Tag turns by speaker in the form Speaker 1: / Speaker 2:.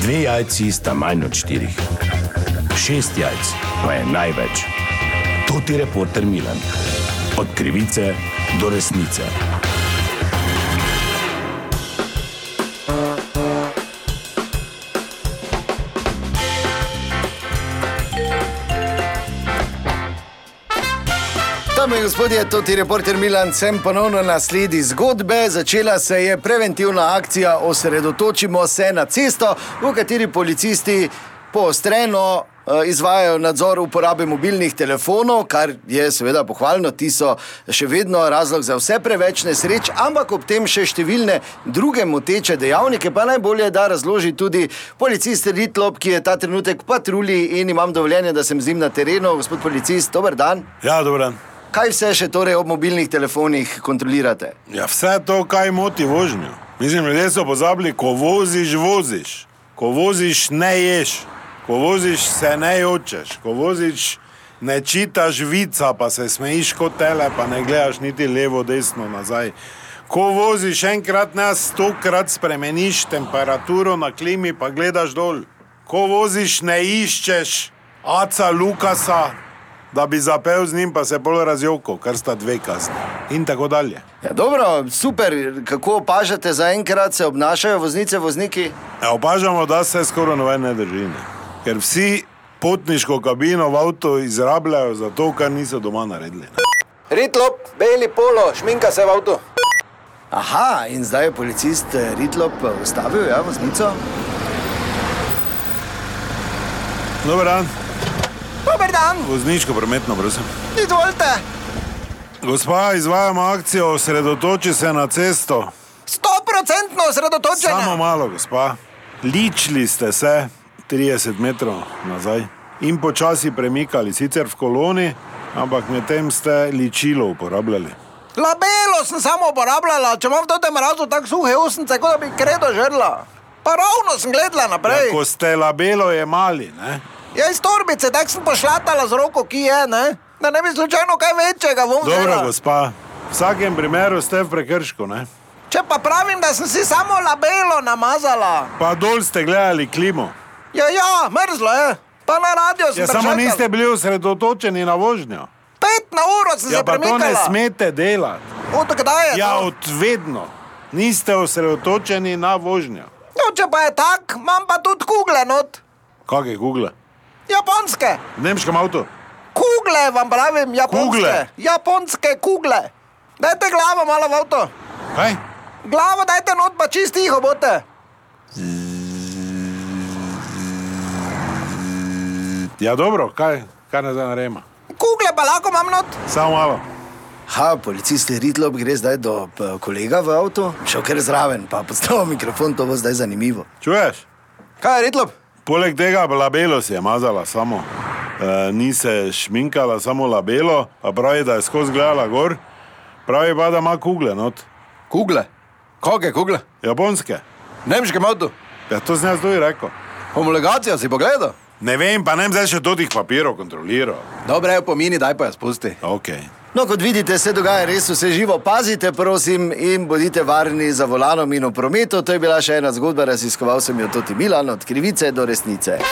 Speaker 1: Dve jajci sta manj od štirih. Šest jajc pa je največ. To ti reporter Milan. Od krivice do resnice.
Speaker 2: Dame in gospodje, to je reporter Milan, sem ponovno na sledi zgodbe. Začela se je preventivna akcija Osredotočimo se na cesto, v kateri policisti poostreno eh, izvajajo nadzor uporabe mobilnih telefonov, kar je seveda pohvalno, ti so še vedno razlog za vse preveč nesreč, ampak ob tem še številne druge moteče dejavnike, pa najbolje, da razloži tudi policist Ritlop, ki je ta trenutek v patrulji in imam dovoljenje, da sem z njim na terenu. Gospod policist, dober dan.
Speaker 3: Ja, dobro.
Speaker 2: Kaj vse še torej ob mobilnih telefonih kontrolirate?
Speaker 3: Ja, vse to, kaj moti vožnjo. Mislim, ljudje so pozabili, ko voziš, voziš. Ko voziš, ne ješ. Ko voziš, se ne jočeš. Ko voziš, ne čitaš vica, pa se smejiš kot tele, pa ne gledaš niti levo, desno nazaj. Ko voziš enkrat, ne stokrat spremeniš temperaturo na klimi, pa gledaš dol. Ko voziš, ne iščeš aca Lukasa, da bi zapel z njim, pa se bolj razjoko, kar sta dve kazni. In tako dalje.
Speaker 2: Ja, dobro, super, kako opažate, zaenkrat se obnašajo voznice, vozniki.
Speaker 3: Ja, opažamo, da se skoraj noben ne drži. Ne? Ker vsi potniško kabino v avtu izrabljajo za to, kar niso doma naredili. Ne?
Speaker 4: Ritlop, beli polo, šminka se v avtu.
Speaker 2: Aha, in zdaj je policist eh, Ritlop eh, ustavil, ja, voznico.
Speaker 3: Dober dan,
Speaker 5: Dober dan,
Speaker 3: vozniško prometno, prosim.
Speaker 5: izvolite.
Speaker 3: Gospa, izvajamo akcijo, osredotoči se na cesto.
Speaker 5: Stoprocentno osredotočen.
Speaker 3: Samo malo, gospa. Ličili ste se 30 metrov nazaj in počasi premikali, sicer v koloni, ampak medtem ste ličilo uporabljali.
Speaker 5: Labelo sem samo uporabljala, če imam v tem mrazu tako suhe usnice, kot da bi kredo žrla. Pa ravno sem gledala naprej.
Speaker 3: Ja, ko ste labelo jemali, ne?
Speaker 5: Ja, iz torbice, tako sem pošlatala z roko, ki je, ne? da ne bi slučajno kaj večjega vom
Speaker 3: Dobro,
Speaker 5: vzela.
Speaker 3: gospa. V vsakem primeru ste v prekršku, ne?
Speaker 5: Če pa pravim, da sem si samo labelo namazala.
Speaker 3: Pa dol ste gledali klimo.
Speaker 5: Ja, ja, mrzlo je. Pa na radio sem
Speaker 3: Ja, samo
Speaker 5: prešetala.
Speaker 3: niste bili osredotočeni na vožnjo.
Speaker 5: Pet na uro sem
Speaker 3: Ja,
Speaker 5: se
Speaker 3: pa to ne
Speaker 5: premikala.
Speaker 3: smete delati.
Speaker 5: Od kdaj je
Speaker 3: Ja,
Speaker 5: to?
Speaker 3: od vedno. Niste osredotočeni na vožnjo.
Speaker 5: No, če pa je tak, imam pa tudi kugle not.
Speaker 3: Kaj je Google?
Speaker 5: Japonske.
Speaker 3: V nemškem avtu.
Speaker 5: Kugle vam pravim, japonske.
Speaker 3: Kugle?
Speaker 5: Japonske kugle. Dajte glavo malo v avto.
Speaker 3: Kaj?
Speaker 5: Glavo dajte not, pa čist tiho bote.
Speaker 3: Ja, dobro, kaj, kaj ne zdaj naredimo?
Speaker 5: Kugle pa lahko imam not.
Speaker 3: Samo malo.
Speaker 2: Ha, policist Ritlop gre zdaj do eh, kolega v avtu, šel kar zraven, pa postavil mikrofon, to bo zdaj zanimivo.
Speaker 3: Čuješ?
Speaker 4: Kaj je ritlop?
Speaker 3: Poleg tega labelo si je mazala samo, e, ni se šminkala, samo labelo, pa pravi, da je skozi gledala gor, pravi pa, da ima kugle not,
Speaker 4: Kugle. Kakšne kugle?
Speaker 3: japonske.
Speaker 4: Nemškem avtu.
Speaker 3: Ja, to sem jaz tudi rekel.
Speaker 4: Homologacijo si pogledal?
Speaker 3: Ne vem, pa ne bi zdaj še totih papirov kontroliral.
Speaker 4: Dobre, pomini, daj pa jaz pusti.
Speaker 3: Okay.
Speaker 2: No, kot vidite, se dogaja res vse živo. Pazite, prosim, in bodite varni za volanom in v prometu. To je bila še ena zgodba, raziskoval sem jo tudi Milan, od krivice do resnice.